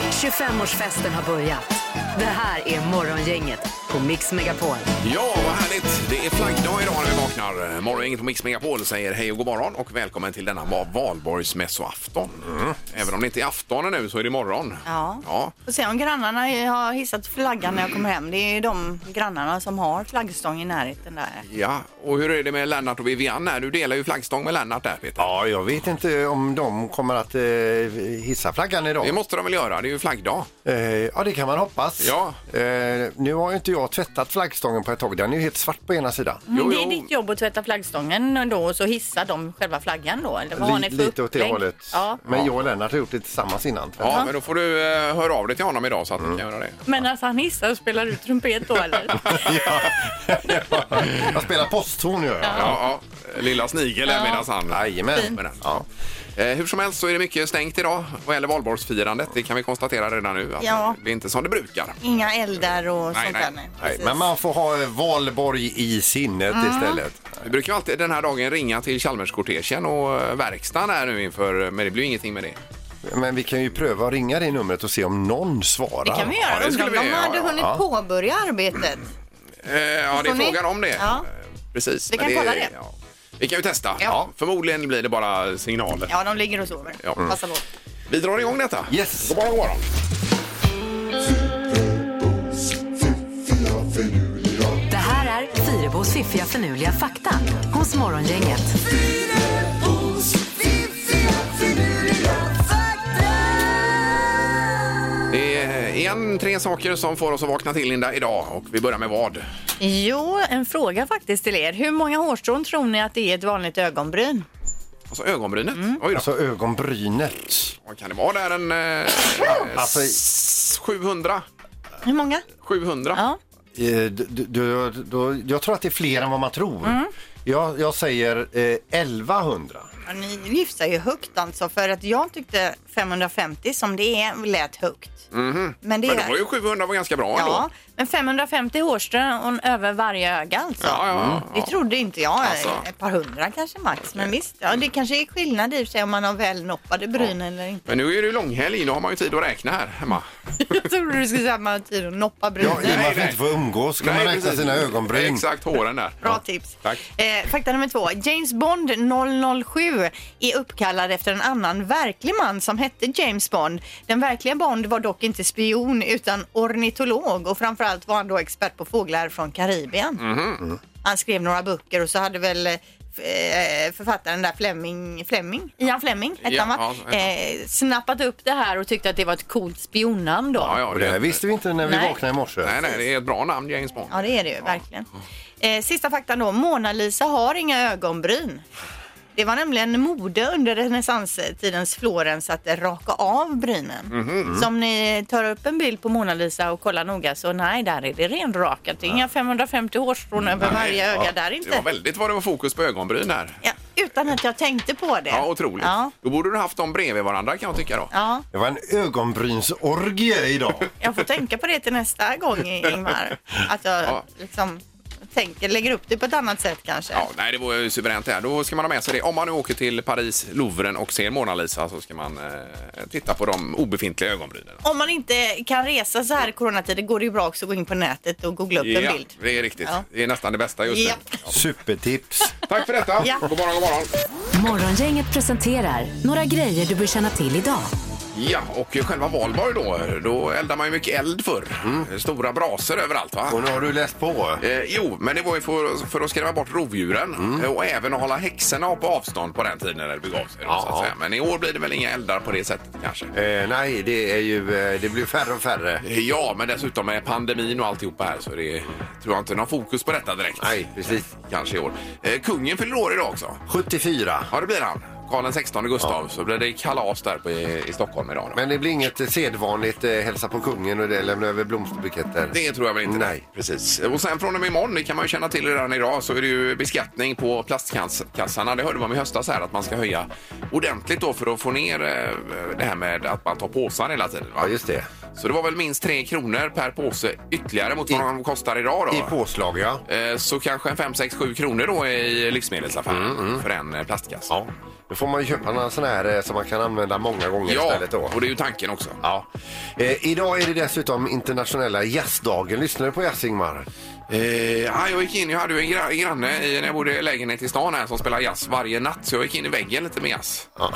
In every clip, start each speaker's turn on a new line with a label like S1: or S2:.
S1: 25-årsfesten har börjat. Det här är Morgongänget på Mix Megapol.
S2: Ja, vad härligt. Det är flaggdag idag när vi vaknar. Morgongänget på Mix Megapol säger hej och god morgon och välkommen till denna va- valborgsmässoafton. Även om det inte är aftonen nu så är det imorgon.
S3: Mm. Ja.
S2: Ja,
S3: Och se om grannarna har hissat flaggan när jag kommer hem. Det är ju de grannarna som har flaggstång i närheten där.
S2: ja. Och hur är det med Lennart och Vivian här? Du delar ju flaggstång med Lennart där Peter.
S4: Ja, jag vet inte om de kommer att eh, hissa flaggan idag.
S2: Det måste de väl göra? Det är ju flaggdag.
S4: Eh, ja, det kan man hoppas.
S2: Ja.
S4: Eh, nu har ju inte jag tvättat flaggstången på ett tag. Den är ju helt svart på ena sidan.
S2: Jo,
S3: Mm, det är
S2: jo.
S3: ditt jobb att tvätta flaggstången då och så hissar de själva flaggan då? Eller vad Mm. har ni
S4: Li-
S3: för
S4: lite åt det
S3: upplägg?
S4: hållet.
S3: Ja.
S4: Men jag och Lennart har gjort det tillsammans innan.
S2: Ja, men då får du eh, höra av dig till honom idag så att du kan göra det.
S3: Men alltså han hissar och spelar ut trumpet då eller?
S4: ja. jag spelar posthorn gör jag.
S2: Ja, ja. Lilla snigeln ja. medan han...
S4: Jajamän.
S2: med den.
S4: Ja.
S2: Eh, hur som helst så är det mycket stängt idag vad gäller valborgsfirandet. Det kan vi konstatera redan nu. Att
S3: Ja.
S2: Det är inte som det brukar.
S3: Inga eldar och
S2: Nej,
S3: sånt
S2: nej.
S3: där. Nej,
S4: Nej,
S3: precis. Mm.
S4: men man får ha eh, valborg i sinnet istället.
S2: Vi brukar ju alltid den här dagen ringa till Chalmerskortegen och eh, verkstaden här nu inför, eh, men det blir ju ingenting med det.
S4: Men vi kan ju pröva att ringa det numret och se om någon svarar.
S3: Det kan vi
S2: Ja,
S3: göra.
S2: det
S3: Undrar
S2: skulle
S3: om
S2: vi-
S3: de
S2: ja,
S3: hade
S2: ja,
S3: hunnit
S4: ja.
S3: påbörja arbetet.
S2: Eh, ja, det är
S3: Får ni?
S2: frågan om det.
S3: Ja.
S2: Eh, Precis.
S3: Vi
S2: men
S3: kan kolla det.
S2: Ja. Vi kan ju testa.
S3: Ja.
S2: Förmodligen blir det bara signaler.
S3: Ja, de ligger och sover.
S2: Ja.
S3: Passa på.
S2: Vi drar igång detta.
S4: Yes.
S2: God morgon, god morgon.
S1: Det här är Fyrabos fiffiga förnuliga fakta hos Morgongänget.
S2: Det är igen tre saker som får oss att vakna till Linda idag och vi börjar med vad?
S3: Jo, en fråga faktiskt till er. Hur många hårstrån tror ni att det är ett vanligt ögonbryn?
S2: Alltså ögonbrynet.
S3: Mm.
S2: Oj då.
S4: Alltså ögonbrynet.
S2: Vad kan det vara där? En eh,
S4: Alltså,
S2: s- 700?
S3: Hur många?
S2: 700?
S3: Ja.
S4: eh, d- d- d- d- jag tror att det är fler än vad man tror. Jag, jag säger eh, 1100.
S3: Ja, Ni lyfter ju högt alltså för att jag tyckte 550 som det är lät högt. Men det
S2: Mhm. Men
S3: är...
S2: då var ju 700 var ganska bra
S3: Ja,
S2: ändå.
S3: men 550 hårstrån över varje öga alltså.
S2: Ja, ja, ja.
S3: Det trodde inte jag. eh,
S2: Alltså.
S3: Ett par hundra kanske max. Men visst, ja, det kanske är skillnad i och för sig om man har välnoppade bryn eller inte.
S2: Men nu är det ju långhelg, nu har man ju tid att räkna här hemma.
S3: Jag trodde du skulle säga att man har tid att noppa
S4: Ja, i och
S3: brynen.
S4: med att vi
S2: nej.
S4: inte får umgås ska
S2: Nej,
S4: man räkna
S2: precis.
S4: sina ögonbryn.
S2: Exakt, håren där.
S3: Bra
S2: Ja.
S3: tips.
S2: Tack.
S3: Eh, fakta nummer två. James Bond 007 är uppkallad efter en annan verklig man som hette James Bond. Den verkliga Bond var dock inte spion utan ornitolog och framförallt var han då expert på fåglar från Karibien.
S2: Mhm.
S3: Mm. Han skrev några böcker och så hade väl eh, f- eh, författaren där Fleming, Fleming, Ian Fleming hette
S2: Ja,
S3: han va?
S2: ja,
S3: eh, snappat upp det här och tyckte att det var ett coolt spionnamn då.
S2: Ja, ja,
S4: Och det här visste vi inte när vi
S3: Nej.
S4: vaknade i morse.
S2: Nej, nej, det är ett bra namn, James Bond.
S3: Ja, det är det ju verkligen. Eh, sista faktan då. Mona Lisa har inga ögonbryn. Det var nämligen mode under renässanstidens Florens att raka av brynen.
S2: Mhm.
S3: Så om ni tar upp en bild på Mona Lisa och kollar noga så nej, där är det renrakat. Det är inga 550 hårstrån över varje öga där
S2: Det var
S3: inte.
S2: väldigt vad det var fokus på ögonbryn här.
S3: Ja, utan att jag tänkte på det.
S2: Ja, otroligt.
S3: Ja,
S2: Då borde du haft dem bredvid varandra kan jag tycka då.
S3: ja.
S4: Det var en ögonbrynsorgie idag.
S3: jag får tänka på det till nästa gång, Ingmar. Att jag
S2: Ja.
S3: liksom tänker, lägger upp det på ett annat sätt kanske.
S2: Ja, nej, det var ju suveränt det här. Då ska man ha med sig det. Om man nu åker till Paris, Louvren och ser Mona Lisa så ska man eh, titta på de obefintliga ögonbrynen.
S3: Om man inte kan resa så här i coronatider går det ju bra också att gå in på nätet och googla upp en bild.
S2: det är riktigt.
S3: Ja.
S2: Det är nästan det bästa just
S3: Ja.
S2: nu.
S4: Supertips.
S2: Tack för detta.
S3: Ja.
S2: God morgon, god morgon.
S1: Morgongänget presenterar några grejer du bör känna till idag.
S2: Ja, och själva valborg då, då eldar man ju mycket eld förr.
S4: Mm.
S2: Stora braser överallt va?
S4: Och nu har du läst på.
S2: Eh, jo, men det var ju för, för att skrämma bort rovdjuren
S4: Mm.
S2: eh, och även att hålla häxorna på avstånd på den tiden när det begav sig. Då, så att
S4: Ja.
S2: säga. Men i år blir det väl inga eldar på det sättet kanske.
S4: Eh, nej, det, är ju, eh, det blir färre och färre.
S2: Eh, Ja, men dessutom med pandemin och alltihopa här så det är, tror jag inte någon fokus på detta direkt.
S4: Nej, precis.
S2: Kanske i år. Eh, kungen fyller år idag också.
S4: 74.
S2: Ja, det blir han. Karl den 16 Gustav. Så blir det kalas där på, i, i Stockholm idag. Då.
S4: Men det blir inget eh, sedvanligt eh, hälsa på kungen och det, lämna över blomsterbuketter.
S2: Det tror jag väl inte.
S4: Nej.
S2: Precis. Och sen från och med imorgon, det kan man ju känna till redan idag, så är det ju beskattning på plastkassarna. Det hörde man i höstas här att man ska höja ordentligt då för att få ner eh, det här med att man tar påsar hela tiden. Va?
S4: Ja, just det.
S2: Så det var väl minst 3 kronor per påse ytterligare mot vad
S4: I-
S2: de kostar idag då.
S4: I påslag, ja. Mm,
S2: Eh, Så kanske en 5, 6, 7 kronor då i livsmedelsaffären för en eh, plastkasse.
S4: Då får man ju köpa några sådana här eh, som man kan använda många gånger
S2: Ja,
S4: istället. Då.
S2: och det är ju tanken också.
S4: Ja. Eh, idag är det dessutom internationella jazzdagen. Lyssnar du på jazz, Ingmar?
S2: Eh, ja, jag gick in, jag hade ju en gra- granne i, när jag bodde i lägenhet i stan här som spelade jazz varje natt så jag gick in i väggen lite med jazz.
S4: Ja.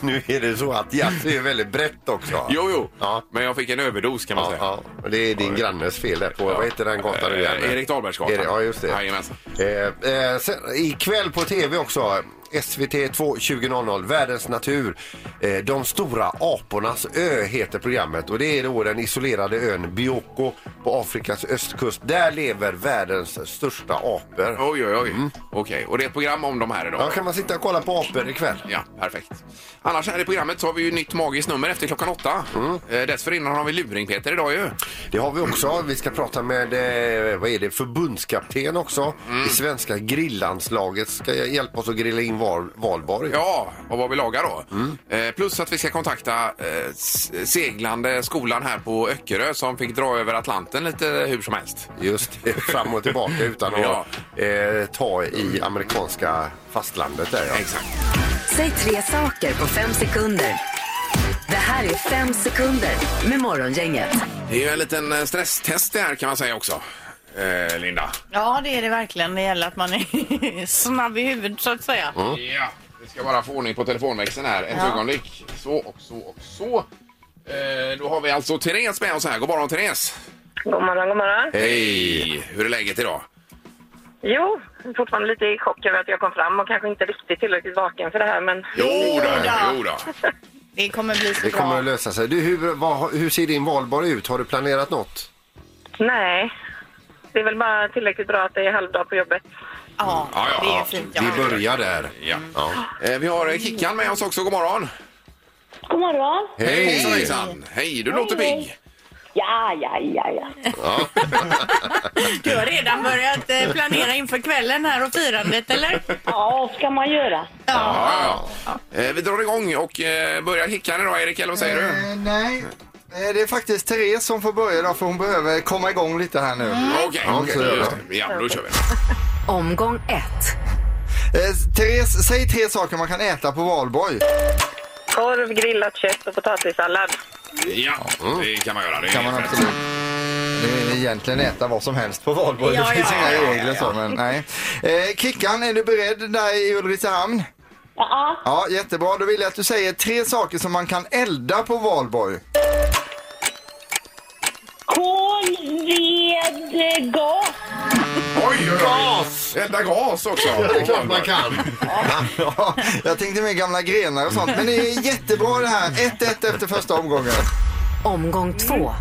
S4: nu är det så att jazz är ju väldigt brett också.
S2: Jo, jo,
S4: Ja.
S2: men jag fick en överdos kan man
S4: Ja,
S2: säga.
S4: ja. Och Det är din grannes fel där på, vad heter den gatan nu igen?
S2: Eh, Erik Dahlbergsgatan.
S4: Erik- Ja, just det.
S2: Jajamensan.
S4: Eh, eh, sen, ikväll på tv också, SVT 2 20.00, Världens natur. Eh, de stora apornas ö heter programmet och det är då den isolerade ön Bioko på Afrikas östkust. Där lever världens största apor.
S2: Oj, oj, oj. Okej, och det är ett program om de här idag?
S4: Ja, kan man sitta och kolla på apor ikväll?
S2: Ja, perfekt. Annars här i programmet så har vi ju nytt magiskt nummer efter klockan åtta. Eh, dessförinnan har vi luring Peter idag ju.
S4: Det har vi också. Vi ska prata med eh, vad är det, förbundskapten också. Det svenska grillanslaget ska hjälpa oss att grilla in val, valborg.
S2: Ja, och vad vi lagar då. Eh, plus att vi ska kontakta eh, s- seglande skolan här på Öckerö som fick dra över Atlanten lite hur som helst.
S4: Just det, fram och tillbaka utan att
S2: Ja.
S4: eh, ta i amerikanska fastlandet där. Ja.
S2: Exakt.
S1: Säg tre saker på fem sekunder. Det här är fem sekunder med Morgongänget.
S2: Det är ju en liten eh, stresstest det här kan man säga också. Eh, Linda.
S3: Ja, det är det verkligen. Det gäller att man är snabb i huvudet så att säga.
S2: Ja, vi ska bara få ordning på telefonväxeln här ett ögonblick. Så och så och så. Eh, då har vi alltså Therese med oss här. God morgon Therese!
S5: God morgon, god morgon.
S2: Hej! Hur är läget idag?
S5: Jo, fortfarande lite i chock över att jag kom fram och kanske inte riktigt tillräckligt vaken för det här, men...
S2: Jo då,
S3: då.
S2: jo då.
S3: Det kommer bli så
S4: Det kommer att
S3: bra.
S4: lösa sig. Du, hur, vad, hur ser din valborg ut? Har du planerat något?
S5: Nej. Det är väl bara tillräckligt bra att det är halvdag på jobbet.
S3: Ja,
S2: Ja, ja,
S3: det är
S2: ja.
S3: fint.
S4: Vi
S3: Ja.
S4: börjar där.
S2: Ja. Eh, Vi har eh, Kickan med oss också. God morgon!
S6: God morgon.
S4: Hej!
S2: Hejsan, hejsan! Hej, du låter
S6: hej.
S2: pigg!
S6: Ja, ja, ja, ja.
S3: Du har redan börjat eh, planera inför kvällen här och firandet, eller?
S6: Ja, vad ska man göra?
S2: Ja, ja. Eh, Vi drar igång och eh, börjar Kickan idag, Erik, eller vad säger du?
S4: Mm.
S7: Eh, nej, Eh, det är faktiskt Therese som får börja då, för hon behöver komma igång lite här nu.
S2: Okej,
S4: Ja, så
S2: okej,
S4: gör
S2: just det. ja, då kör vi.
S1: Omgång ett.
S7: Eh, Therese, säg tre saker man kan äta på valborg.
S5: Korv, grillat kött och potatissallad.
S2: Ja, det kan man göra. Det är
S7: Kan man
S2: helt rätt.
S7: absolut. Det är egentligen äta vad som helst på valborg.
S3: Ja,
S7: det finns
S3: ja,
S7: inga
S3: ja,
S7: regler så, men nej. Eh, Kickan, är du beredd där i Ulricehamn?
S6: Ja, ah,
S7: Ja, jättebra. Då vill jag att du säger tre saker som man kan elda på valborg.
S6: kol, ved, gas.
S2: Oj, oj, oj! Gas! Elda gas också!
S4: Det är klart man kan.
S7: Ja, jag tänkte med gamla grenar och sånt, men det är jättebra det här. 1-1 efter första omgången.
S1: Omgång två.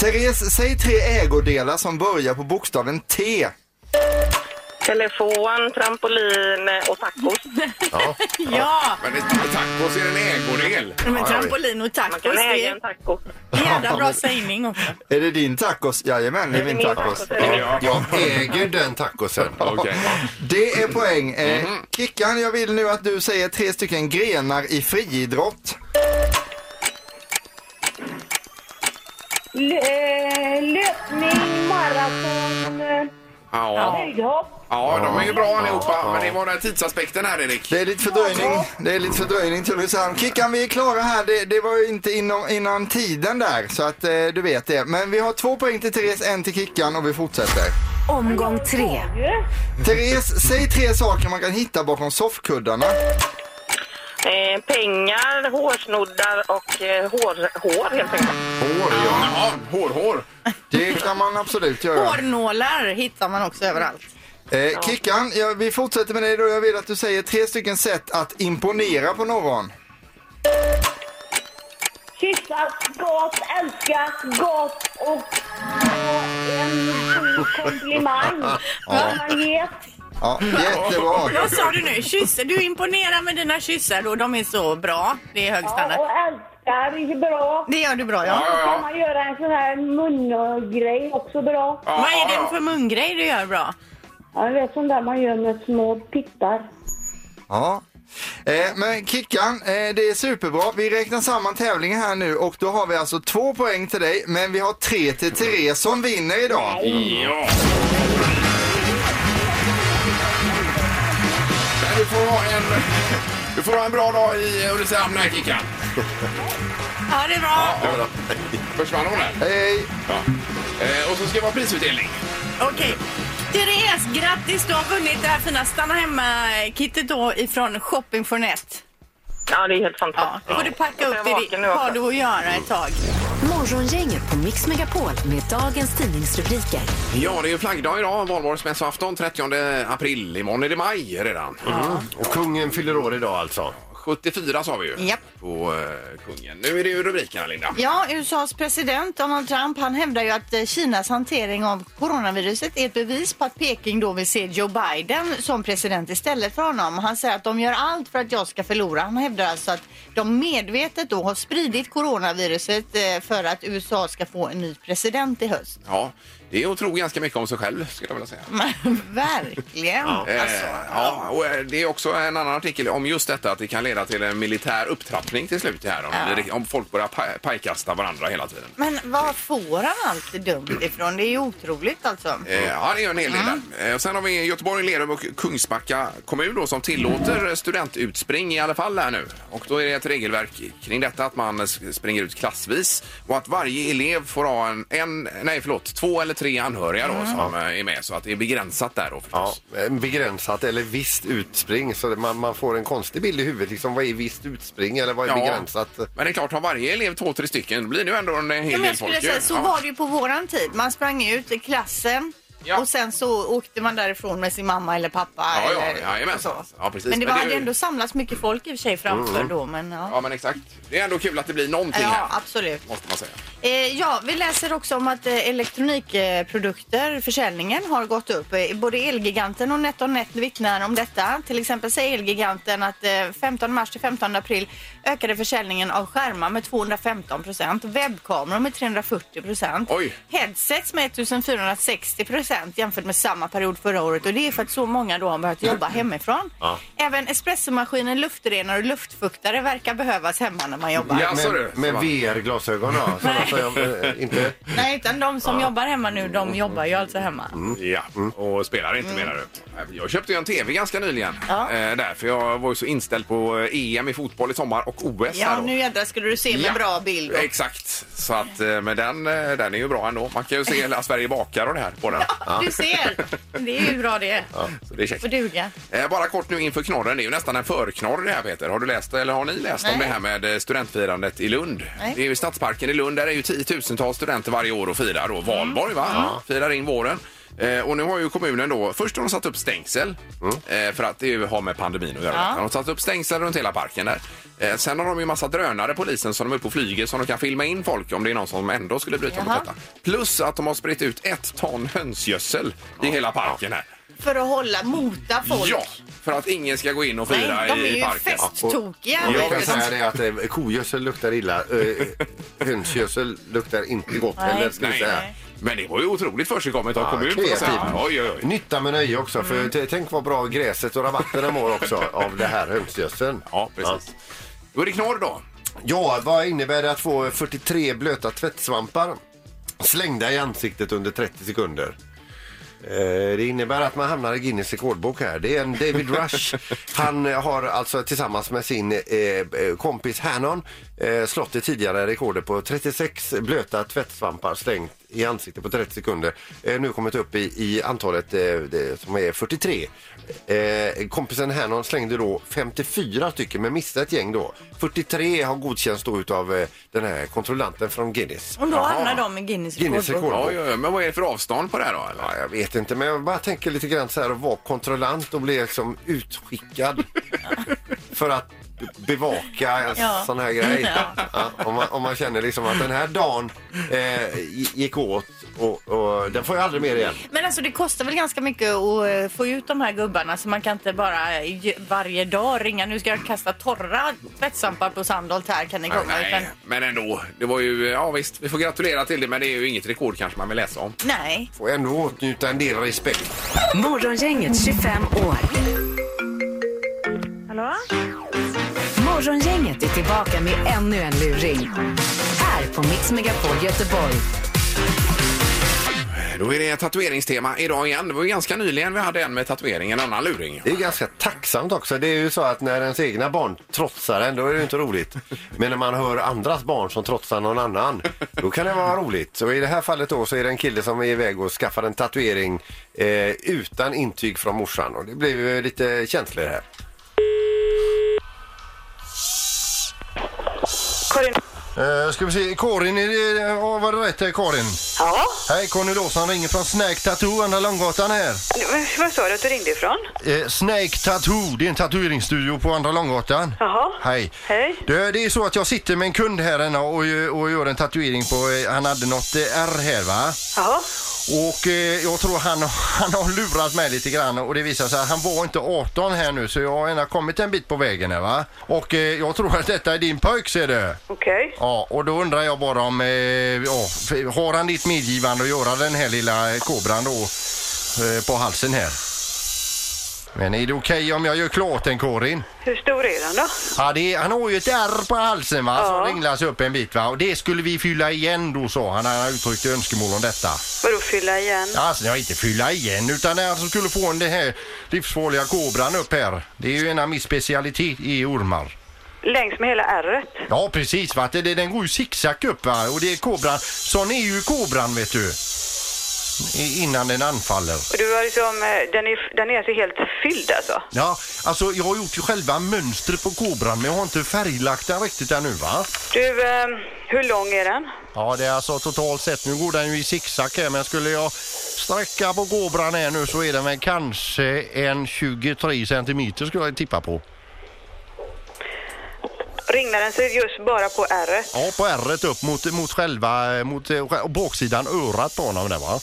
S7: Therese, säg tre ägodelar som börjar på bokstaven T.
S5: Telefon, trampolin och tacos.
S3: Ja,
S2: Men det- tacos är en ägodel.
S3: men trampolin och
S5: Man
S3: tacos,
S5: kan
S3: det
S5: äga en
S3: är
S5: taco.
S3: jävla bra sägning också.
S7: Är det din tacos? Jajamän, det är min tacos.
S5: är det.
S2: Ja.
S4: Jag äger den tacosen.
S2: Okej.
S7: Det är poäng. Eh, Kickan, jag vill nu att du säger tre stycken grenar i friidrott.
S6: L- eh, löpning, maraton, eh,
S2: Ja.
S6: höjdhopp.
S2: ja, de är ju bra allihopa. Men det var den här tidsaspekten här, Erik.
S7: Det är lite fördröjning. Det är lite fördröjning till Ulricehamn. Kickan, vi är klara här. Det, det var ju inte inom, innan tiden där, så att eh, du vet det. Men vi har två poäng till Therese, en till Kickan och vi fortsätter.
S1: Omgång tre.
S7: Therese, säg tre saker man kan hitta bakom soffkuddarna.
S5: Eh, pengar, hårsnoddar och eh, hår, hår helt enkelt.
S4: Hår, ja.
S2: Ja, hår, hår.
S7: Det kan man absolut göra.
S3: Hårnålar hittar man också överallt.
S7: Eh, Kickan, ja, vi fortsätter med dig då. Jag vill att du säger tre stycken sätt att imponera på någon.
S6: Kyssas, gas, älskas, gas och och en god komplimang. Vad man ger.
S7: Ja, jättebra.
S3: Vad sa du nu? Kysser? Du imponerar med dina kyssar och de är så bra. Det är hög
S6: Ja,
S3: standard.
S6: och älskar är bra.
S3: Det gör du bra,
S2: Ja,
S3: ja.
S2: ja,
S6: Kan
S2: ja.
S6: man göra en sån här mungrej också bra.
S2: Ja,
S3: Vad är
S2: ja,
S3: det
S2: ja.
S3: för mungrej du gör bra?
S6: Ja, det är sånt där man gör med små pittar.
S7: Ja. Eh, men Kickan, eh, det är superbra. Vi räknar samman tävlingen här nu och då har vi alltså två poäng till dig, men vi har tre till Therese som vinner idag.
S2: Ja. Men du får ha en... Du får ha en bra dag i Ulricehamn här, Kickan.
S3: Ja, det är bra.
S2: Försvann hon där?
S7: Hej!
S2: Ja. Eh, och så ska det vara prisutdelning.
S8: Okej. Therese, grattis! Du har vunnit det här fina stanna hemma-kittet då ifrån Shopping for Net.
S5: Ja, det är helt
S8: Ja,
S5: fantastiskt.
S8: då får du packa upp det.
S5: Jag är vaken nu
S8: Har
S5: också.
S8: du att göra ett tag.
S1: Morgongänget på Mix Megapol med dagens tidningsrubriker.
S2: Ja, det är ju flaggdag idag, valborgsmässoafton 30 april. Imorgon är det maj redan.
S4: Och kungen fyller år idag alltså.
S2: 74 sa vi ju
S3: Japp.
S2: på eh, kungen. Nu är det ju rubrikerna, Linda.
S3: Ja, USAs president Donald Trump han hävdar ju att eh, Kinas hantering av coronaviruset är ett bevis på att Peking då vill se Joe Biden som president istället för honom. Han säger att de gör allt för att jag ska förlora. Han hävdar alltså att de medvetet då har spridit coronaviruset eh, för att USA ska få en ny president i höst.
S2: Ja, det är att tro ganska mycket om sig själv, skulle jag vilja säga.
S3: Men Verkligen!
S2: Eh,
S3: Alltså,
S2: ja, och eh, det är också en annan artikel om just detta att det kan leda till en militär upptrappning till slut här om, det- om folk börjar pa- pajkasta varandra hela tiden.
S3: Men var får han allt dumt ifrån? Det är ju otroligt alltså.
S2: Eh, Ja, det är ju en hel del där. Eh, Sen har vi Göteborg, Lerum och Kungsbacka kommun då, som tillåter studentutspring i alla fall här nu. Och då är det ett regelverk kring detta att man s- springer ut klassvis och att varje elev får ha en, en nej förlåt, två eller tre anhöriga då som eh, är med. Så att det är begränsat där då
S4: Ja,
S2: förstås.
S4: en begränsat eller visst utspring. Så det- man, man får en konstig bild i huvudet. Liksom, vad är visst utspring eller vad är begränsat?
S2: men det är klart, har varje elev två, tre stycken då blir det ju ändå en hel
S3: Ja, men
S2: del
S3: jag
S2: folk.
S3: skulle säga,
S2: ju.
S3: så
S2: Ja.
S3: var det ju på våran tid. Man sprang ut i klassen
S2: Ja.
S3: och sen så åkte man därifrån med sin mamma eller pappa.
S2: Ja, ja,
S3: eller,
S2: jajamän.
S3: och så.
S2: Ja, precis.
S3: Men
S2: Men det
S3: det var,
S2: är
S3: hade
S2: ju- Mm.
S3: ändå samlats mycket folk i och för sig framför då. Men, ja.
S2: Ja, men exakt. Det är ändå kul att det blir någonting
S3: Ja,
S2: här,
S3: absolut.
S2: måste man säga.
S3: Eh, ja, vi läser också om att eh, elektronikprodukter, eh, försäljningen har gått upp. Eh, Både Elgiganten och NetOnNet vittnar om detta. Till exempel säger Elgiganten att eh, 15 mars till 15 april ökade försäljningen av skärmar med 215 procent, webbkameror med 340 procent,
S2: Oj.
S3: headsets med 1460 procent jämfört med samma period förra året. Och det är för att så många då har börjat jobba hemifrån. Även espressomaskinen, luftrenare och luftfuktare verkar behövas hemma när man jobbar.
S2: Ja, så du.
S4: Med, med VR-glasögon då? Sådana som jag, eh, inte,
S8: Nej, utan de som jobbar hemma nu, de jobbar ju alltså hemma.
S2: Ja, och spelar inte menar du? Jag köpte ju en TV ganska nyligen.
S3: Mm. Ja.
S2: Eh, där, för jag var ju så inställd på eh, EM i fotboll i sommar och OS. här
S3: Ja,
S2: då.
S3: nu jädrar skulle du se med
S2: Ja,
S3: bra bild. då.
S2: Exakt. Så att, eh, men den, eh, den är ju bra ändå. Man kan ju se hela Sverige bakar och det här på den.
S8: Du ser! Det är ju bra det.
S2: Så det är käckt.
S8: Får duga.
S2: Eh, Bara kort nu inför knorren. Det är ju nästan en förknorr det här Peter. Har du läst eller har ni läst om
S3: Nej.
S2: det här med eh, studentfirandet i Lund?
S3: Nej.
S2: Det är ju i Stadsparken i Lund. Där är ju tiotusentals studenter varje år och firar då valborg
S3: Mm.
S2: va? Firar in våren. Eh, och nu har ju kommunen då, först har de satt upp stängsel eh, för att det ju har med pandemin att göra. De har satt upp stängsel runt hela parken där. Eh, sen har de ju massa drönare polisen som de är uppe och flyger som de kan filma in folk om det är någon som ändå skulle bryta mot
S3: Jaha.
S2: detta. Plus att de har spritt ut ett ton hönsgödsel i hela parken här.
S3: För att hålla, mota folk.
S2: Ja, för att ingen ska gå in och
S3: Nej,
S2: fira
S3: de är
S2: i
S3: ju
S2: parken.
S3: festtokiga.
S4: och jag kan
S3: Ja,
S4: säga det att eh, kogödsel luktar illa. Eh, hönsgödsel luktar inte gott heller. Ska vi
S2: Nej,
S4: säga.
S2: men det var ju otroligt försigkommet av
S4: Ja,
S2: kommunen. får jag säga.
S4: kreativt.
S2: Oj, oj, oj.
S4: Nytta med nöje också. För t- Tänk vad bra gräset och rabatterna mår också av det här hönsgödseln.
S2: Ja, precis. Då är det knorr då.
S4: Ja, vad innebär det att få 43 blöta tvättsvampar slängda i ansiktet under 30 sekunder? Eh, Det innebär att man hamnar i Guinness rekordbok här. Det är en David Rush. Han eh, har alltså tillsammans med sin eh, eh, kompis Hannon eh, slått det tidigare rekordet på 36 blöta tvättsvampar slängt i ansiktet på 30 sekunder. Eh, Nu kommit upp i, i antalet eh, det, som är 43. Eh, Kompisen Hannon slängde då 54 stycken men missade ett gäng då. 43 har godkänts då utav eh, den här kontrollanten från Guinness.
S8: Och då hamnar de i Guinness
S4: Guinness
S8: rekordbok.
S4: rekordbok.
S2: Oj, oj, oj. Men vad är det för avstånd på det här då? Eller?
S4: Ja, jag vet inte, men jag bara tänker lite grann så här att vara kontrollant och bli liksom utskickad för att bevaka en
S8: Ja.
S4: sån här grej. Ja, om, man, om man känner liksom att den här dagen eh, gi- gick åt och, och den får jag aldrig mer igen.
S8: Men alltså det kostar väl ganska mycket att eh, få ut de här gubbarna så man kan inte bara ju- varje dag ringa nu ska jag kasta torra tvättsampar på Sandholt här kan ni komma. utan,
S2: Nej, men ändå. Det var ju, ja visst, vi får gratulera till det, men det är ju inget rekord kanske man vill läsa om.
S8: nej.
S4: Får ändå åtnjuta en del respekt.
S1: Morgongänget 25 år.
S5: Hallå?
S1: Morgongänget är tillbaka med ännu en luring. Här på Mix Megapol Göteborg.
S2: Då Då är det tatueringstema idag igen. Det var ju ganska nyligen vi hade en med tatuering, en annan luring.
S9: Det är ganska tacksamt också. Det är ju så att när ens egna barn trotsar en, då är det ju inte roligt. Men när man hör andras barn som trotsar någon annan, då kan det vara roligt. Så i det här fallet då så är det en kille som är iväg och skaffar en tatuering eh, utan intyg från morsan. Och det blir ju lite känsligt här.
S5: Karin.
S4: Eh, ska vi se, Karin, är det, ja, var det rätt där Karin?
S5: Ja,
S4: Hej, Conny Lawson ringer från Snake Tattoo, Andra Långgatan här.
S5: men vad sa du att du ringde ifrån?
S4: Eh, Snake Tattoo, det är en tatueringsstudio på Andra Långgatan.
S5: Jaha.
S4: Hej.
S5: Hej.
S4: Du, det är så att jag sitter med en kund här inne och, eh, och gör en tatuering på, eh, han hade något eh, R här va?
S5: Jaha.
S4: Och eh, jag tror han, han har lurat mig lite grann och det visar sig att han var inte 18 här nu så jag har ändå kommit en bit på vägen här va? Och eh, jag tror att detta är din pojk ser du.
S5: Okej.
S4: Ja, och då undrar jag bara om... Eh, ja, f- har han ditt medgivande att göra den här lilla eh, kobran då eh, på halsen här? Men är det okej om jag gör klart den, Karin?
S5: Hur stor är den då?
S4: Ja, det är, han har ju ett ärr på halsen va,
S5: Ja.
S4: som ringlas upp en bit va. Och det skulle vi fylla igen då, sa han. Han uttryckte önskemål om detta.
S5: Vadå fylla igen?
S4: Alltså, jag inte fylla igen, utan det är han som skulle få en den här livsfarliga kobran upp här. Det är ju en av min specialitet i ormar.
S5: Längs med hela ärret?
S4: Ja precis va, det, det- den går ju zigzag upp va och det är kobran, sån är ju kobran vet du. I- Innan den anfaller.
S5: Och du har liksom, eh, den är, den är alltså helt fylld alltså?
S4: Ja, alltså jag har gjort ju själva mönstret på kobran men jag har inte färglagt den riktigt ännu va.
S5: Du, eh, hur lång är den?
S4: Ja det är alltså totalt sett, nu går den ju i zigzag här men skulle jag sträcka på kobran här nu så är den väl kanske en 23 centimeter skulle jag tippa på.
S5: Ringlar den sig just bara på ärret?
S4: Ja på ärret upp mot, mot själva, mot eh, baksidan örat på honom där va.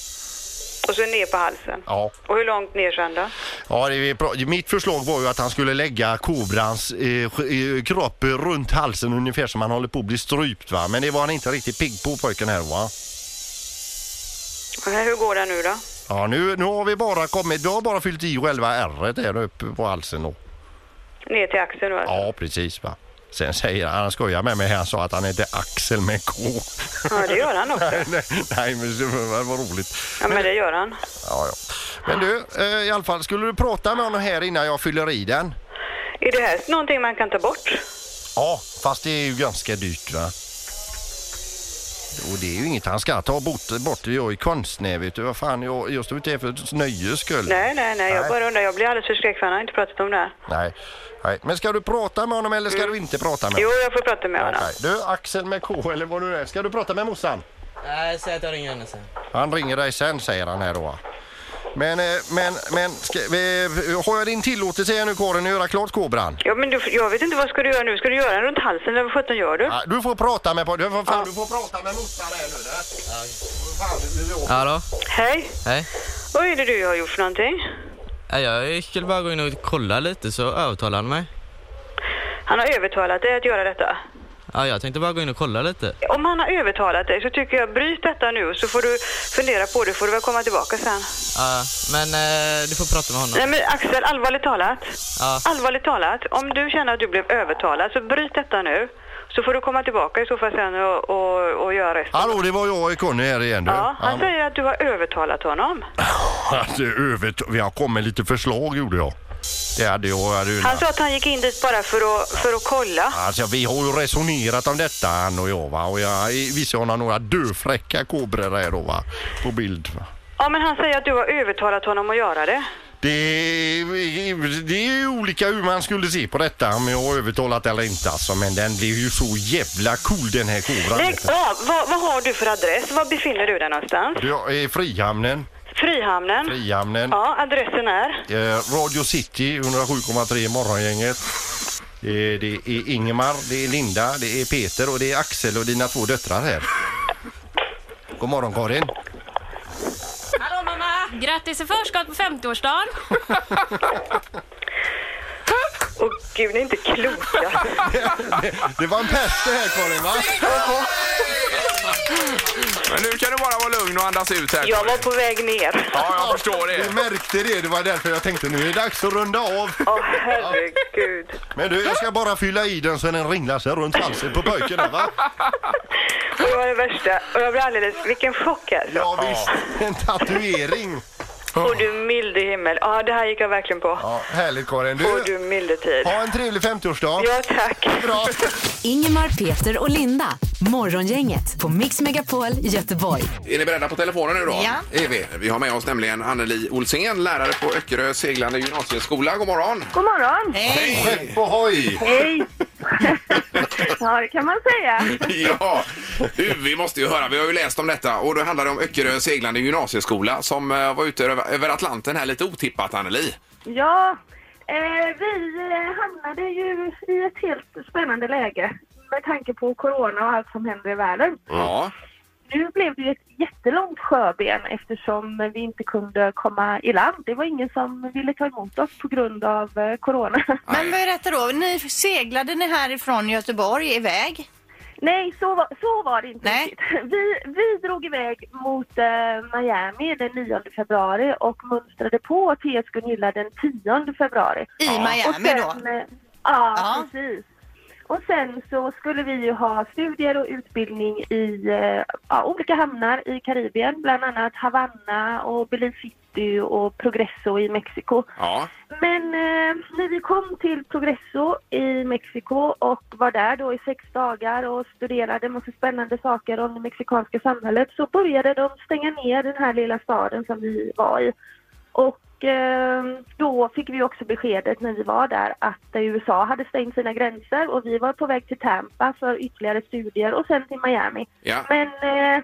S5: Och så ner på halsen?
S4: Ja.
S5: Och hur långt ner sen då?
S4: Ja, det är bra. Mitt förslag var ju att han skulle lägga kobrans eh, sk- eh, kropp runt halsen ungefär som han håller på att bli strypt. Va? Men det var han inte riktigt pigg på pojken här. Va?
S5: Och hur går den nu då?
S4: Ja, nu, nu har vi bara kommit, vi har bara fyllt i själva ärret där uppe på halsen. Då.
S5: Ner till axeln då alltså?
S4: Ja, precis. Va? Sen säger han, han skojar med mig, här, han sa att han heter Axel med K.
S5: Ja, det gör han också.
S4: nej, nej, men det var vad roligt.
S5: Ja, men det gör han.
S4: Ja, ja. Men du, eh, i alla fall, skulle du prata med honom här innan jag fyller i den?
S5: Är det här någonting man kan ta bort?
S4: Ja, fast det är ju ganska dyrt va? Och det är ju inget han ska ta bort. bort. Jag är ju konstnär vet du. Vad fan, jag, jag står inte här för nöjes skull.
S5: Nej, nej, nej. Jag
S4: Nej.
S5: bara undrar. Jag blir alldeles förskräckt för han har inte pratat om det här.
S4: Nej. Nej. Men ska du prata med honom eller ska du inte prata med
S5: Mm. Jo,
S4: honom?
S5: jag får prata med honom.
S4: Nej. Du, Axel med K eller vad du är. Ska du prata med morsan?
S3: Nej, säg att jag ringer henne sen.
S4: Han ringer dig sen säger han här då. Men, eh, men, men ska, vi, har jag din tillåtelse här nu Karin att göra klart kobran?
S5: Ja, men du, jag vet inte. Vad ska du göra nu? Ska du göra den runt halsen? Eller vad sjutton gör du?
S4: Ja, Ah, Du får prata med, du får, fan, du får prata med morsan här nu. där. Fan, du- du-
S3: Hallå?
S5: Hej!
S3: Hej.
S5: Vad är det du har gjort för någonting?
S3: Ja, Jag skulle bara gå in och kolla lite så övertalade han mig.
S5: Han har övertalat dig att göra detta.
S3: Ja, jag tänkte bara gå in och kolla lite.
S5: Om han har övertalat dig så tycker jag bryt detta nu så får du fundera på det. får du väl komma tillbaka sen.
S3: Ja, men eh, du får prata med honom.
S5: Nej men Axel, allvarligt talat.
S3: Ja.
S5: Allvarligt talat, om du känner att du blev övertalad så bryt detta nu. Så får du komma tillbaka i så fall sen och, och, och göra resten.
S4: Hallå, det var jag och Conny här igen du.
S5: Ja, han
S4: Ja.
S5: säger att du har övertalat honom.
S4: Att det är övrigt, vi har kommit med lite förslag gjorde jag. Det hade jag. Hade ju,
S5: Han sa att han gick in dit bara för att, för att kolla.
S4: alltså, vi har ju resonerat om detta han och jag va. Och jag visade honom några döfräcka kobror där då va. På bild va.
S5: Ja, men han säger att du har övertalat honom att göra det.
S4: Det, det är ju olika hur man skulle se på detta om jag har övertalat eller inte alltså. Men den blev ju så jävla cool den här kobran.
S5: Lägg av! Vad, vad har du för adress? Var befinner du dig någonstans?
S4: Du, Jag är i Frihamnen.
S5: Frihamnen?
S4: Frihamnen.
S5: Ja, adressen är?
S4: Eh, Radio City 107,3 Morgongänget. Eh, Det är Ingemar, det är Linda, det är Peter och det är Axel och dina två döttrar här. God morgon Karin.
S10: Hallå mamma! Grattis i förskott på 50-årsdagen!
S5: Åh gud, ni är inte kloka.
S4: Det var en pest det här Karin va?
S2: Men nu kan du bara vara lugn och andas ut här.
S5: Jag var på väg ner.
S2: Ja, jag förstår
S4: Vi
S2: det.
S4: märkte det, det var därför jag tänkte nu är det dags att runda av.
S5: Åh herregud.
S4: Men du, jag ska bara fylla i den så den ringlar sig runt halsen på pojken här va?
S5: Och det var det värsta. Och jag blev alldeles... Vilken chock alltså.
S11: Ja, visst. En tatuering.
S5: Och du milde himmel. Ja, det här gick jag verkligen på.
S11: Ja, härligt Karin. Du,
S5: Och du milde tid.
S11: ha en trevlig 50-årsdag.
S5: Ja, tack.
S11: Bra.
S1: Ingemar, Peter och Linda. Morgongänget på Mix Megapol Göteborg.
S2: Är ni beredda på telefonen nu då?
S3: Ja.
S2: Är vi. vi har med oss nämligen Anneli Olsén, lärare på Öckerö seglande gymnasieskola. God morgon!
S6: God morgon!
S11: Skepp ohoj!
S6: Hej! ja, det kan man säga.
S2: ja, du, vi måste ju höra. Vi har ju läst om detta och då handlar det om Öckerö seglande gymnasieskola som eh, var ute över, över Atlanten här lite otippat, Anneli.
S6: Ja, eh, vi eh, hamnade ju i ett helt spännande läge med tanke på corona och allt som händer i världen.
S2: Ja.
S6: Nu blev det ju ett jättelångt sjöben eftersom vi inte kunde komma i land. Det var ingen som ville ta emot oss på grund av eh, corona.
S3: Men berätta då, ni seglade ni härifrån Göteborg iväg?
S6: Nej, så var, så var det inte
S3: Nej.
S6: riktigt. Vi, vi drog iväg mot eh, Miami den 9 februari och mönstrade på TS Gunilla den 10 februari.
S3: I Miami
S6: och
S3: då?
S6: sen, eh, Ja,
S3: Ja.
S6: precis. Och sen så skulle vi ju ha studier och utbildning i eh, ja, olika hamnar i Karibien, bland annat Havanna och Belize City och Progresso i Mexiko.
S2: Ja.
S6: Men eh, när vi kom till Progresso i Mexiko och var där då i sex dagar och studerade massa spännande saker om det mexikanska samhället så började de stänga ner den här lilla staden som vi var i. Och eh, då fick vi också beskedet när vi var där att eh, USA hade stängt sina gränser och vi var på väg till Tampa för ytterligare studier och sen till Miami.
S2: Ja. Mm.
S6: Men eh,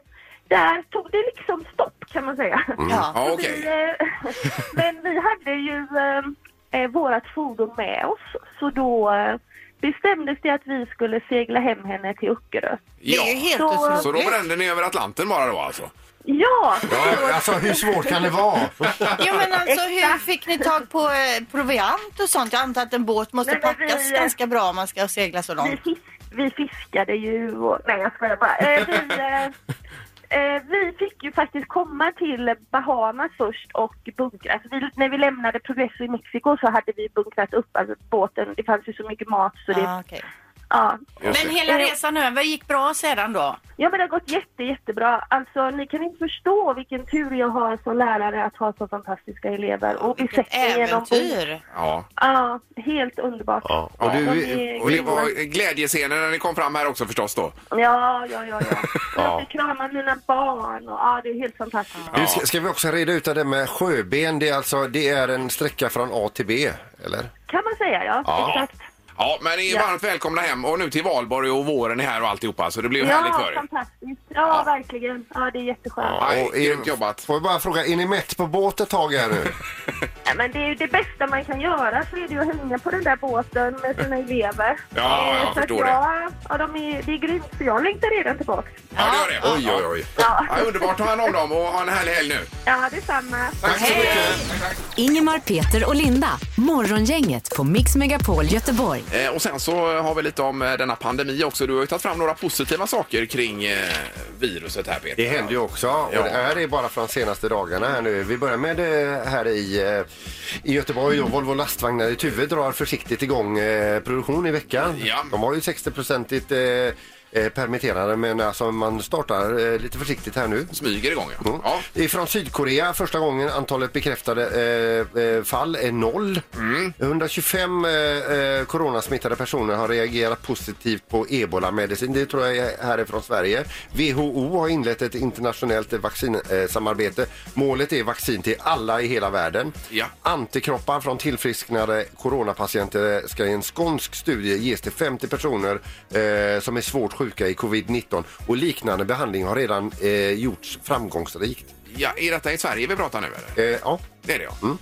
S6: där tog det liksom stopp kan man säga.
S3: Ja.
S2: Ja,
S6: Så
S2: okej.
S6: vi, eh, men vi hade ju eh, eh, vårat fordon med oss så då eh, bestämdes det att vi skulle segla hem henne till Uckerö.
S3: Det är ju
S2: Ja.
S3: helt
S6: Så-
S2: Så då
S3: otroligt.
S2: brände ni över Atlanten bara då alltså?
S6: Ja!
S11: Ja, alltså hur svårt kan det vara?
S3: Jo men alltså hur fick ni tag på eh, proviant och sånt? Jag antar att en båt måste
S6: Nej, men vi-
S3: packas ganska bra om man ska segla så
S6: Vi,
S3: långt.
S6: fisk, vi fiskade ju och, Nej, jag skojar bara. Eh, vi, eh, eh, vi fick ju faktiskt komma till Bahamas först och bunkra. Alltså vi, när vi lämnade Progresso i Mexiko så hade vi bunkrat upp alltså, båten. Det fanns ju så mycket mat så det...
S3: Ah, okej.
S6: Ja.
S2: Just
S8: Men
S2: det.
S6: Eh,
S8: hela resan över gick bra sedan då?
S6: ja, men det har gått jätte, jättebra. Alltså, ni kan inte förstå vilken tur jag har som lärare att ha så fantastiska elever. Och
S3: Vilket
S6: besättningen ombord.
S3: äventyr!
S2: Ja.
S6: Ja, helt underbart.
S4: Ja.
S2: Ja.
S11: Och du,
S6: vi-
S2: Och det var glädjescener när ni kom fram här också förstås då?
S6: Ja, ja, ja. ja.
S4: Ja.
S6: Jag fick krama mina barn och ja, det är helt fantastiskt.
S4: Du, ska, ska vi också reda ut det där med sjöben? Det är alltså det är en sträcka från A till B, eller?
S6: Kan man säga, ja.
S4: Ja.
S6: Exakt.
S2: Ja, men ni är
S6: Ja.
S2: varmt välkomna hem och nu till valborg och våren är här och alltihopa så det blir ju härligt
S6: Ja,
S2: för er.
S6: fantastiskt. Ja, verkligen. Ja, det är jätteskönt.
S2: Ja,
S4: Och är-
S2: grymt jobbat.
S11: Får jag bara fråga, är ni mätt på båt ett tag här nu?
S6: Nej, Men det är ju det bästa man kan göra så är det ju att hänga på den där båten med sina elever.
S2: Ja, jag
S6: Eh, så att
S2: förstår det.
S6: jag- Ja, de är, det är grymt så jag längtar redan tillbaka.
S2: Ja, det gör det.
S11: Oj, oj, oj.
S6: Ja,
S2: Ja, underbart. Ta hand om dem och ha en härlig helg nu.
S6: ja detsamma.
S2: Tack så mycket.
S1: Ingemar, Peter och Linda. Morgongänget på Mix Megapol Göteborg.
S2: Eh, Och sen så har vi lite om eh, denna pandemi också. Du har ju tagit fram några positiva saker kring eh, viruset här Peter.
S4: Det händer ju också. Och
S2: Ja.
S4: det här är bara från de senaste dagarna här nu. Vi börjar med eh, här i, eh, i Göteborg. Och Volvo lastvagnar i Tuve drar försiktigt igång eh, produktion i veckan.
S2: Ja.
S4: De har ju 60-procentigt eh, eh, permitterade men alltså man startar eh, lite försiktigt här nu.
S2: Smyger igång ja.
S4: Mm.
S2: ja.
S4: Det är från Sydkorea första gången antalet bekräftade eh, eh, fall är noll. 125 eh, eh, coronasmittade personer har reagerat positivt på ebolamedicin. Det tror jag är härifrån Sverige. WHO har inlett ett internationellt vaccinsamarbete. Målet är vaccin till alla i hela världen.
S2: Ja.
S4: Antikroppar från tillfrisknade coronapatienter ska i en skånsk studie ges till 50 personer eh, som är svårt sjuka i covid-19 och liknande behandling har redan eh, gjorts framgångsrikt.
S2: ja. Är detta i Sverige vi pratar nu eller?
S4: Eh, ja.
S2: Det är det ja.
S4: Mm.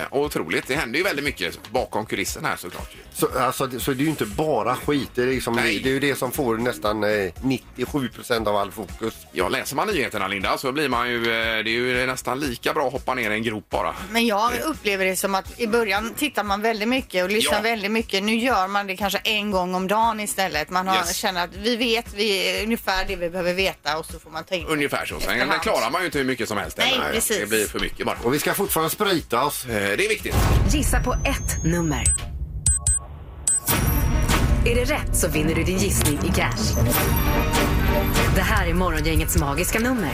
S2: Eh, och otroligt. Det händer ju väldigt mycket bakom kulisserna här såklart. ju.
S4: Så, alltså, det- så det är ju inte bara skit. Det är, liksom, det
S2: Nej.
S4: är ju det som får nästan eh, 97 procent av all fokus.
S2: Ja, läser man nyheterna Linda så blir man ju... eh, Det är ju nästan lika bra att hoppa ner i en grop bara.
S3: Men jag upplever det som att i början tittar man väldigt mycket och lyssnar
S2: Ja.
S3: väldigt mycket. Nu gör man det kanske en gång om dagen istället. Man har,
S2: Yes.
S3: känner att vi vet vi, ungefär det vi behöver veta och så får man ta in det.
S2: Ungefär så. Sen
S3: Efterhand.
S2: klarar man ju inte hur mycket som helst.
S3: Nej,
S2: heller.
S3: precis.
S2: Det blir för mycket bara.
S4: Och vi ska fortfarande sprita oss.
S2: Eh, Det är viktigt.
S1: Gissa på ett nummer. Är det rätt så vinner du din gissning i cash. Det här är Morgongängets magiska nummer.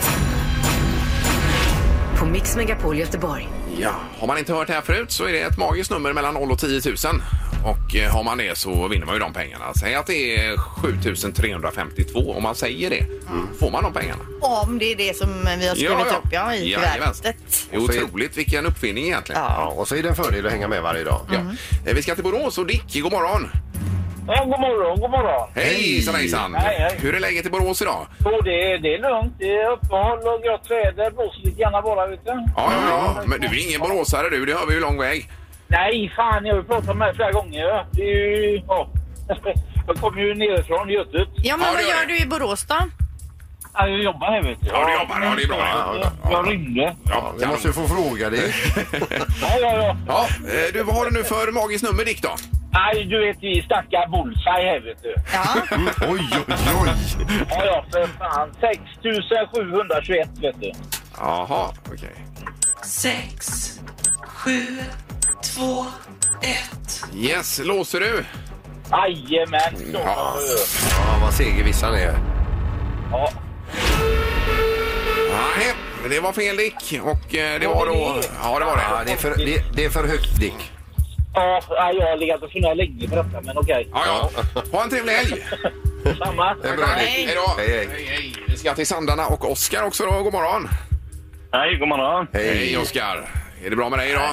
S1: På Mix Megapol Göteborg.
S2: Ja, har man inte hört det här förut så är det ett magiskt nummer mellan 0 och 10 000. Och eh, har man det så vinner man ju de pengarna. Säg att det är 7 352 om man säger det. Får man de pengarna?
S3: Om det är det som vi har skrivit
S2: Ja, ja.
S3: upp ja, i
S2: Jajamän.
S3: kuvertet.
S2: Det är otroligt vilken uppfinning egentligen.
S4: Ja, och så är det en fördel att hänga med varje dag.
S2: Ja. Eh, Vi ska till Borås och Dick, god morgon!
S12: Ja, god morgon, god morgon.
S2: Hej, hejsan, hejsan!
S12: Hej, hej.
S2: Hur är läget i Borås idag?
S12: Jo, det, är- det är lugnt. Det är uppehåll och gott väder. Blåser lite grann bara, vet du.
S2: Ja, ja, ja. Men du är ingen boråsare du, det hör vi ju lång väg.
S12: Nej, fan, jag har ju pratat med dig flera gånger. ja. Det är ju... Ja. Jag kommer ju nerifrån, Götet.
S3: Ja, men vad gör du i Borås då?
S12: Ja, jag jobbar här, vet du.
S2: Ja, du jobbar. Ja, det är bra. Ja,
S12: Jag ringde.
S2: Ja,
S4: Jag måste ju få fråga dig.
S12: Ja, ja, ja.
S2: Ja, eh, du, vad har du nu för magiskt nummer Dick då?
S12: Nej, du vet, vi snackar bullseye här, vet du.
S4: Oj, oj, oj!
S12: Ja, ja, för fan. 6 721, vet du.
S2: Jaha, okej.
S13: Sex, sju, två, ett.
S2: Yes, låser du?
S12: Jajamän, så
S2: Ja.
S12: var det.
S4: Ja, vad segerviss han är.
S12: Ja.
S2: Nej, men det var fel Dick. Och eh, det var då... Ja, det var det.
S4: Ja, det, är för, det, det är för högt, Dick.
S12: Ja, nej, jag har legat och funderat länge på detta, men okej.
S2: Ja, ja. Ha en trevlig helg!
S12: Samma.
S4: Det är bra, Dick.
S2: Hej då!
S4: Hej, hej.
S2: Vi ska till Sandarna och Oskar också då. God morgon!
S12: Hej, god morgon.
S2: Hej, Oskar! Är det bra med dig idag?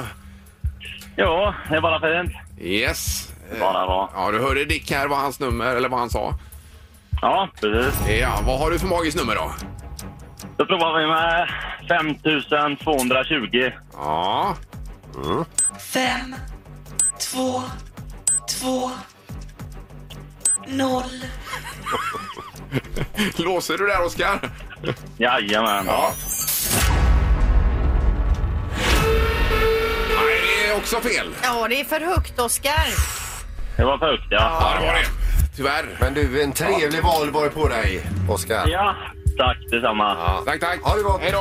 S12: Ja, det är bara fint.
S2: Yes. Eh,
S12: Bara bra.
S2: Ja, du hörde Dick här vad hans nummer, eller vad han sa.
S12: Ja, precis.
S2: Ja, vad har du för magiskt nummer då?
S12: Då provar vi med 5220.
S2: Ja,
S13: Fem, två, två, noll.
S2: låser du där Oskar?
S12: Jajamän.
S2: Ja. Nej, det är också fel.
S3: Ja, det är för högt, Oskar.
S12: Det var för högt, ja.
S2: Ja, det var det. Tyvärr.
S4: Men du, en trevlig valborg på dig, Oskar.
S12: Ja, tack detsamma. Ja.
S2: Tack, tack.
S4: Ha det bra.
S2: Hej då.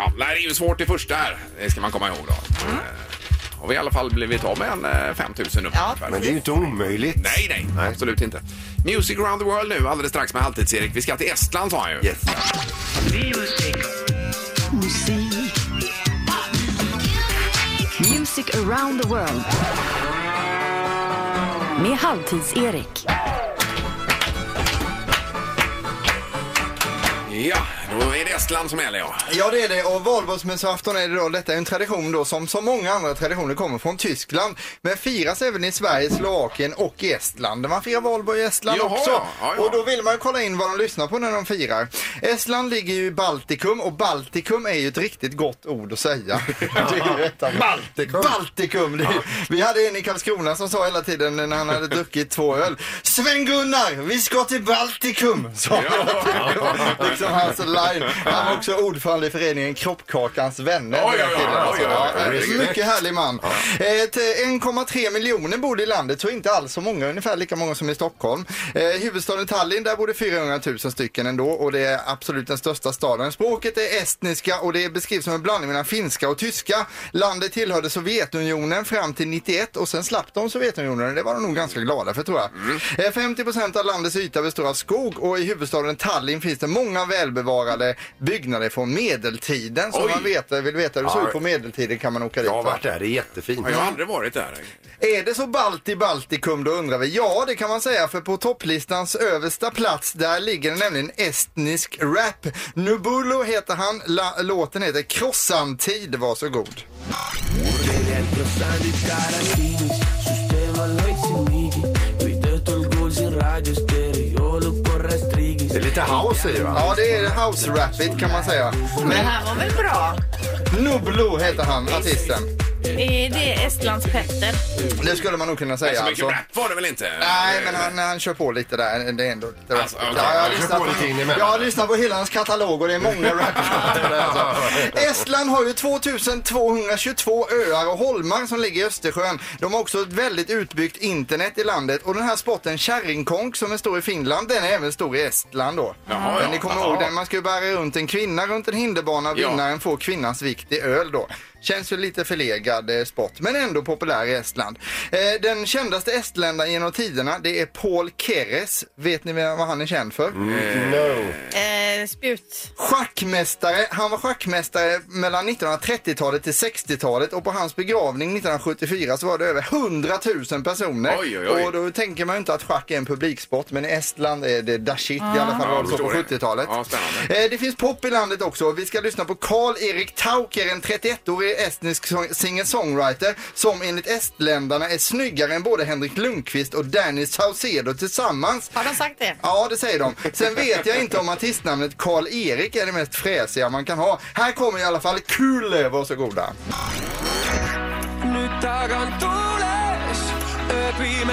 S2: Ja, nej, det är ju svårt det första här. Det ska man komma ihåg då. Eh, Har vi i alla fall blivit av med en eh, 5000 nummer.
S3: Ja.
S2: ungefär.
S4: Men det är ju inte omöjligt.
S2: Nej, nej, Absolut inte. Music around the world nu alldeles strax med Halvtids-Erik. Vi ska till Estland sa han ju.
S4: Yes.
S1: Music around the world. Med Halvtids-Erik.
S2: Ja, då är det Estland som gäller ja.
S7: Ja det är det och valborgsmässoafton är det då. Detta är en tradition då som så många andra traditioner kommer från Tyskland. Men firas även i Sverige, Slovakien och i Estland. Man firar valborg i Estland
S2: Jaha,
S7: också.
S2: ja, ja, ja.
S7: Och då vill man ju kolla in vad de lyssnar på när de firar. Estland ligger ju i Baltikum och Baltikum är ju ett riktigt gott ord att säga. Det är ju ett av-
S4: Baltikum.
S7: Baltikum! Det är, Vi hade en i Karlskrona som sa hela tiden när han hade druckit två öl. Sven-Gunnar, vi ska till Baltikum! Sa han. liksom hans line. Han var också ordförande i föreningen Kroppkakans vänner.
S2: Oj,
S7: den
S2: oj, oj,
S7: killen, alltså.
S2: oj, oj, oj.
S7: Ja,
S2: Herregud.
S7: Mycket härlig man. Eh, till 1,3 miljoner bor i landet, så inte alls så många, ungefär lika många som i Stockholm. Eh, huvudstaden Tallinn, där bor det 400 000 stycken ändå och det är absolut den största staden. Språket är estniska och det beskrivs som en blandning mellan finska och tyska. Landet tillhörde Sovjetunionen fram till 91 och sen slapp de Sovjetunionen. Det var de nog ganska glada för tror jag. Eh, 50 procent av landets yta består av skog och i huvudstaden Tallinn finns det många välbevarade byggnader från medeltiden. Så
S2: Oj.
S7: om man vet, vill veta hur det såg ut på medeltiden kan man åka dit.
S4: Jag har
S7: va?
S4: varit där, det är jättefint.
S2: Ja, Jag har aldrig varit där.
S7: Är det så ballt i Baltikum då undrar vi? Ja, det kan man säga för på topplistans översta plats där ligger det nämligen estnisk rap. Nubulo heter han, La- låten heter Krossantid, var så god.
S4: Det är lite house i va?
S2: Eh.
S7: Ja, det är house-rappigt kan man säga.
S8: Det
S7: Men
S8: här var väl bra?
S7: Nublo heter han, artisten.
S8: Är det Estlands Petter?
S7: Det skulle man nog kunna
S2: Nej,
S7: säga
S2: så mycket
S7: alltså.
S2: rap var det väl inte?
S7: Nej, men han, han kör på lite där. Det är ändå lite rap.
S2: Eh, Alltså, okej.
S7: ja, jag, har
S2: Han kör
S7: lyssnat
S4: på lite in emellan.
S7: jag har lyssnat på hela hans katalog och det är många rapplåtar där, alltså. Estland har ju 2222 öar och holmar som ligger i Östersjön. De har också ett väldigt utbyggt internet i landet och den här sporten kärringkonk som är stor i Finland, den är även stor i Estland då.
S2: Jaha,
S7: men
S2: ja.
S7: ni kommer
S2: Jaha.
S7: ihåg den, man ska ju bära runt en kvinna runt en hinderbana,
S2: Ja.
S7: vinnaren får kvinnans vikt i öl då. Känns ju lite förlegad eh, sport, men ändå populär i Estland. Eh, den kändaste estländaren genom tiderna, det är Paul Keres. Vet ni vem- vad han är känd för?
S11: no.
S3: Eh, spjut.
S7: Schackmästare. Han var schackmästare mellan 1930-talet till 60-talet och på hans begravning 1974 så var det över 100 000 personer.
S2: Oj, oj, oj.
S7: Och då tänker man ju inte att schack är en publiksport men i Estland är det da shit i alla fall
S2: Ja,
S7: var det så på
S2: förstår det.
S7: 70-talet.
S2: Ja, spännande.
S7: Eh, Det finns pop i landet också. Vi ska lyssna på Karl-Erik Tauker, en 31-årig estnisk sång- singer-songwriter som enligt estländarna är snyggare än både Henrik Lundqvist och Danny Saucedo tillsammans.
S3: Har de sagt det?
S7: Ja, det säger de. Sen vet jag inte om artistnamnet Karl-Erik är det mest fräsiga man kan ha. Här kommer i alla fall Kule, varsågoda.
S13: Nyt tagan tuules,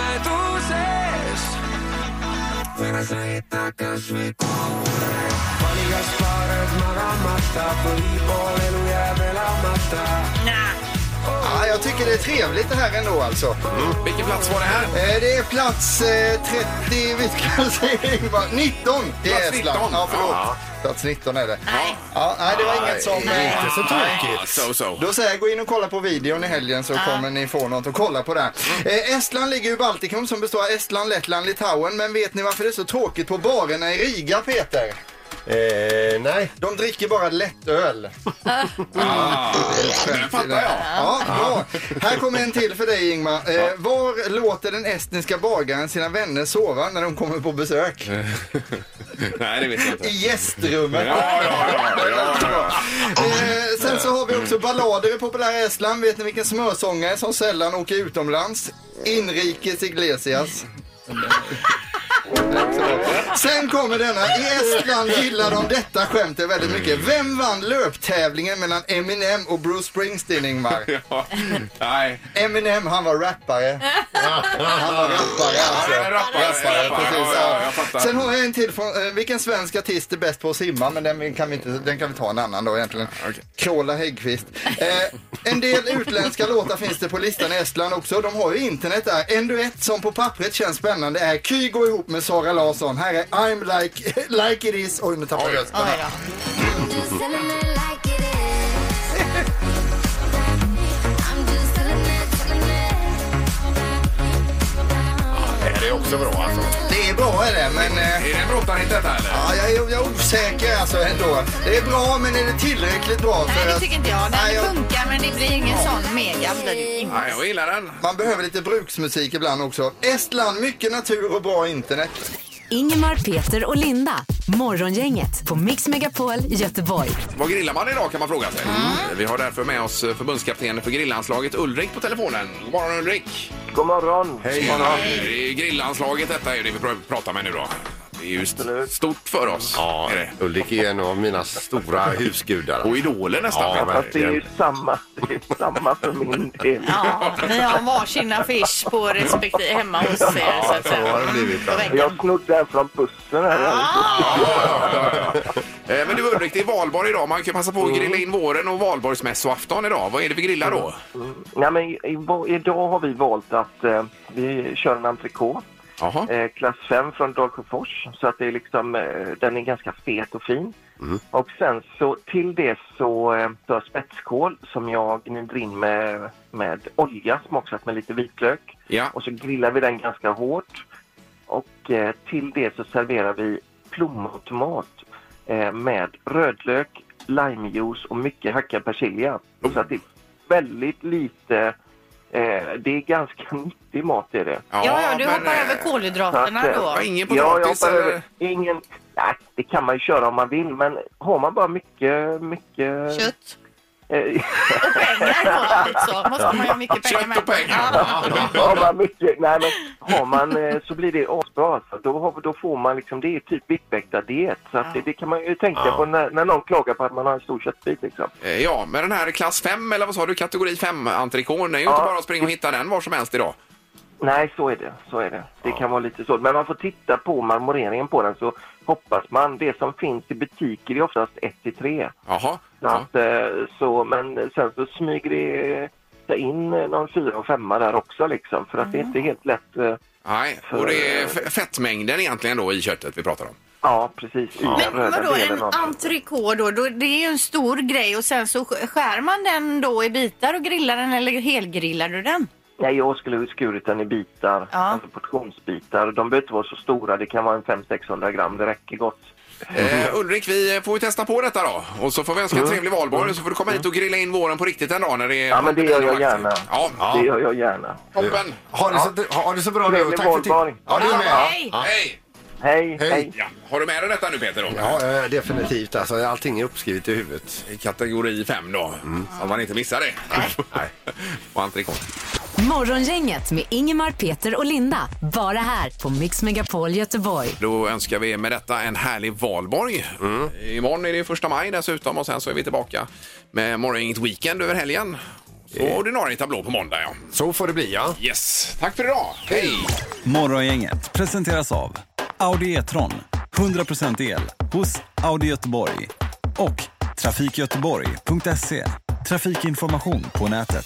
S13: öpimetuses. Veressä heittää kasvi kuulee. Vanikas paaret magamatta, põhipoolelu jää velamatta.
S7: Ja, jag tycker det är trevligt det här ändå alltså.
S2: Vilken plats var det här?
S7: Eh, Det är plats eh, 30, vi ska se, Ingvar. 19. Det är
S2: Plats
S7: Estland.
S2: 19.
S7: Ja, förlåt.
S2: Ja.
S7: Plats 19 är det. Nej. Ja, nej, det var inget som...
S11: Inte så tråkigt.
S2: Ja, so, so.
S7: Då säger jag gå in och kolla på videon i helgen så kommer ni få något att kolla på där. Eh, Estland ligger i Baltikum som består av Estland, Lettland, Litauen. Men vet ni varför det är så tråkigt på barerna i Riga, Peter?
S11: Eh, nej.
S7: De dricker bara lättöl.
S2: Ah, den fattar jag.
S7: Ja, bra. Här kommer en till för dig Ingmar. Eh, var låter den estniska bagaren sina vänner sova när de kommer på
S2: Eh,
S7: besök?
S2: Nej, det vet jag inte.
S7: I gästrummet.
S2: Ja, ja, ja, ja, ja.
S7: Eh, sen så har vi också ballader i populära Estland. Vet ni vilken smörsångare som sällan åker utomlands? Inrikes Iglesias. Sen kommer denna. I Estland gillar de detta skämtet väldigt mycket. Vem vann löptävlingen mellan Eminem och Bruce Springsteen, Ingmar?
S2: Ja. Nej.
S7: Eminem, han var rappare. Han var rappare alltså.
S2: Ja, rappare,
S7: Rappare,
S2: rappare.
S7: precis,
S2: Ja, ja, jag fattar.
S7: Sen har jag en till från, eh, vilken svensk artist är bäst på att simma? Men den kan vi, inte, den kan vi ta en annan då egentligen. Carola Häggkvist. Eh, en del utländska låtar finns det på listan i Estland också. De har ju internet där. En duett som på pappret känns spännande är Kygo ihop med Sara Larsson. Här är I'm like, like it is. Oj, nu tappade jag rösten.
S3: Oj då.
S11: Det här är också bra alltså.
S7: Det är bra är det, men... Eh,
S2: Är det en brottarhit detta eller?
S7: Ja, jag, är, jag är osäker alltså ändå. Det är bra, men är det tillräckligt bra?
S3: Nej,
S7: för
S3: det
S7: att-
S3: tycker inte jag. Den
S7: Nej, jag-
S3: funkar, men det blir ingen sån mega. blir det inte.
S2: Nej, jag gillar den.
S7: Man behöver lite bruksmusik ibland också. Estland, mycket natur och bra internet.
S1: Ingemar, Peter och Linda. Morgongänget på Mix Megapol Göteborg.
S2: Vad grillar man idag kan man fråga sig.
S11: Mm.
S2: Vi har därför med oss förbundskaptenen för grillanslaget Ulrik på telefonen. God morgon Ulrik!
S14: God morgon.
S2: Hej! Det är grillanslaget detta är det vi pr- pratar med nu då. Det är ju st- stort för oss. Ja. Är det.
S11: Ulrik är en av mina stora husgudar.
S2: Och idoler nästan.
S11: Ja,
S2: Ja,
S14: Fast det är ju
S11: verkligen.
S14: samma, det är samma för min del.
S3: Ja, ni har varsin affisch på respektive hemma hos er. Så att
S11: Så
S3: säga.
S11: har det blivit.
S3: På
S14: Jag
S3: väggen.
S14: snodde den från bussen här.
S2: Eh, Men du Ulrik, det är valborg idag. Man kan passa på att grilla in våren och valborgsmässoafton idag. Vad är det vi grillar då?
S14: Nej, men i- i- idag har vi valt att eh, vi kör en entrecote.
S2: Jaha.
S14: Eh, klass 5 från Dalsjöfors. Så att det är liksom, eh, den är ganska fet och fin. Och sen så till det så eh, tar jag spetskål som jag gnider in med, med olja smaksatt med lite vitlök.
S2: Ja.
S14: Och så grillar vi den ganska hårt. Och eh, till det så serverar vi plommontomat eh, med rödlök, limejuice och mycket hackad persilja. Så att det är väldigt lite... Eh, det är ganska nyttig mat är det.
S3: Ja, ja, du
S2: men,
S3: hoppar
S2: eh,
S3: över
S14: Så att,
S3: kolhydraterna
S14: eh,
S3: då.
S2: ja, Ingen
S14: Ja, jag
S2: potatis eh,
S14: hoppar
S2: eller?
S14: över. Ingen... Nej, det kan man ju köra om man vill, men har man bara mycket, mycket...
S3: Kött.
S14: Eh,
S3: Pengar då alltså. Måste man ju ha mycket pengar
S2: Kött och
S3: med.
S2: pengar.
S14: har man mycket... Nej, men har man eh, så blir det asbra. Alltså. Då, har, då får man liksom... Det är typ viktväktardiet. Så att det, det kan man ju tänka
S11: Ja.
S14: på när, när någon klagar på att man har en stor köttbit liksom.
S2: Eh, Ja, men den här klass 5 eller vad sa du, kategori 5 entrecote. Det är ju inte
S14: Ja.
S2: bara att springa och hitta den var som helst idag.
S14: Nej, så är det. Så är det. Det kan vara lite så. Men man får titta på marmoreringen på den så hoppas man. Det som finns i butiker är oftast 1 till 3.
S2: Jaha.
S14: Så
S2: Ja.
S14: att, eh, så, men sen så smyger det sig in eh, någon fyra och femma där också liksom.
S3: Mm.
S14: För att det är inte helt lätt. eh,
S2: Nej, och det är f- fettmängden egentligen då i köttet vi pratar om.
S14: Ja, precis. I den
S3: Men
S14: röda
S3: vadå,
S14: delen
S3: en
S14: av den.
S3: entrecote då, då? Det är ju en stor grej och sen så sk- skär man den då i bitar och grillar den eller helgrillar du den?
S14: Nej, jag skulle ha skurit den i bitar, alltså portionsbitar. De behöver inte vara så stora, det kan vara en 500-600 gram, det räcker gott.
S2: Eh, Ulrik, vi får ju testa på detta då. Och så får vi önska en trevlig valborg och så får du komma hit och grilla in våren på riktigt en dag när det är...
S14: Mm. Ja, men det gör jag gärna.
S2: Ja,
S14: Det gör jag gärna.
S2: Toppen!
S4: Ha det så, ha det så bra nu och
S14: Trevlig
S4: tack för
S14: valborg.
S4: till. Ja, du är med.
S14: Hej.
S4: Ja.
S2: Hej!
S14: Hej!
S4: Hej.
S2: Ja. Har du med dig detta nu Peter? Då?
S4: Ja, eh, definitivt. Alltså, allting är uppskrivet i huvudet.
S2: I kategori 5 då,
S14: Mm.
S2: så att man inte missar det. Nej. och entrecote.
S15: Morgongänget med Ingemar, Peter och Linda. Bara här på Mix Megapol Göteborg.
S2: Då önskar vi med detta en härlig valborg. Imorgon är det första maj dessutom och sen så är vi tillbaka med morgongänget Weekend över helgen. Så ordinarie tablå på måndag ja.
S4: Så får det bli ja.
S2: Yes, tack för idag. Hej!
S7: Morgongänget presenteras av Audi E-tron. 100% el hos Audi Göteborg. Och trafikgöteborg.se. Trafikinformation på nätet.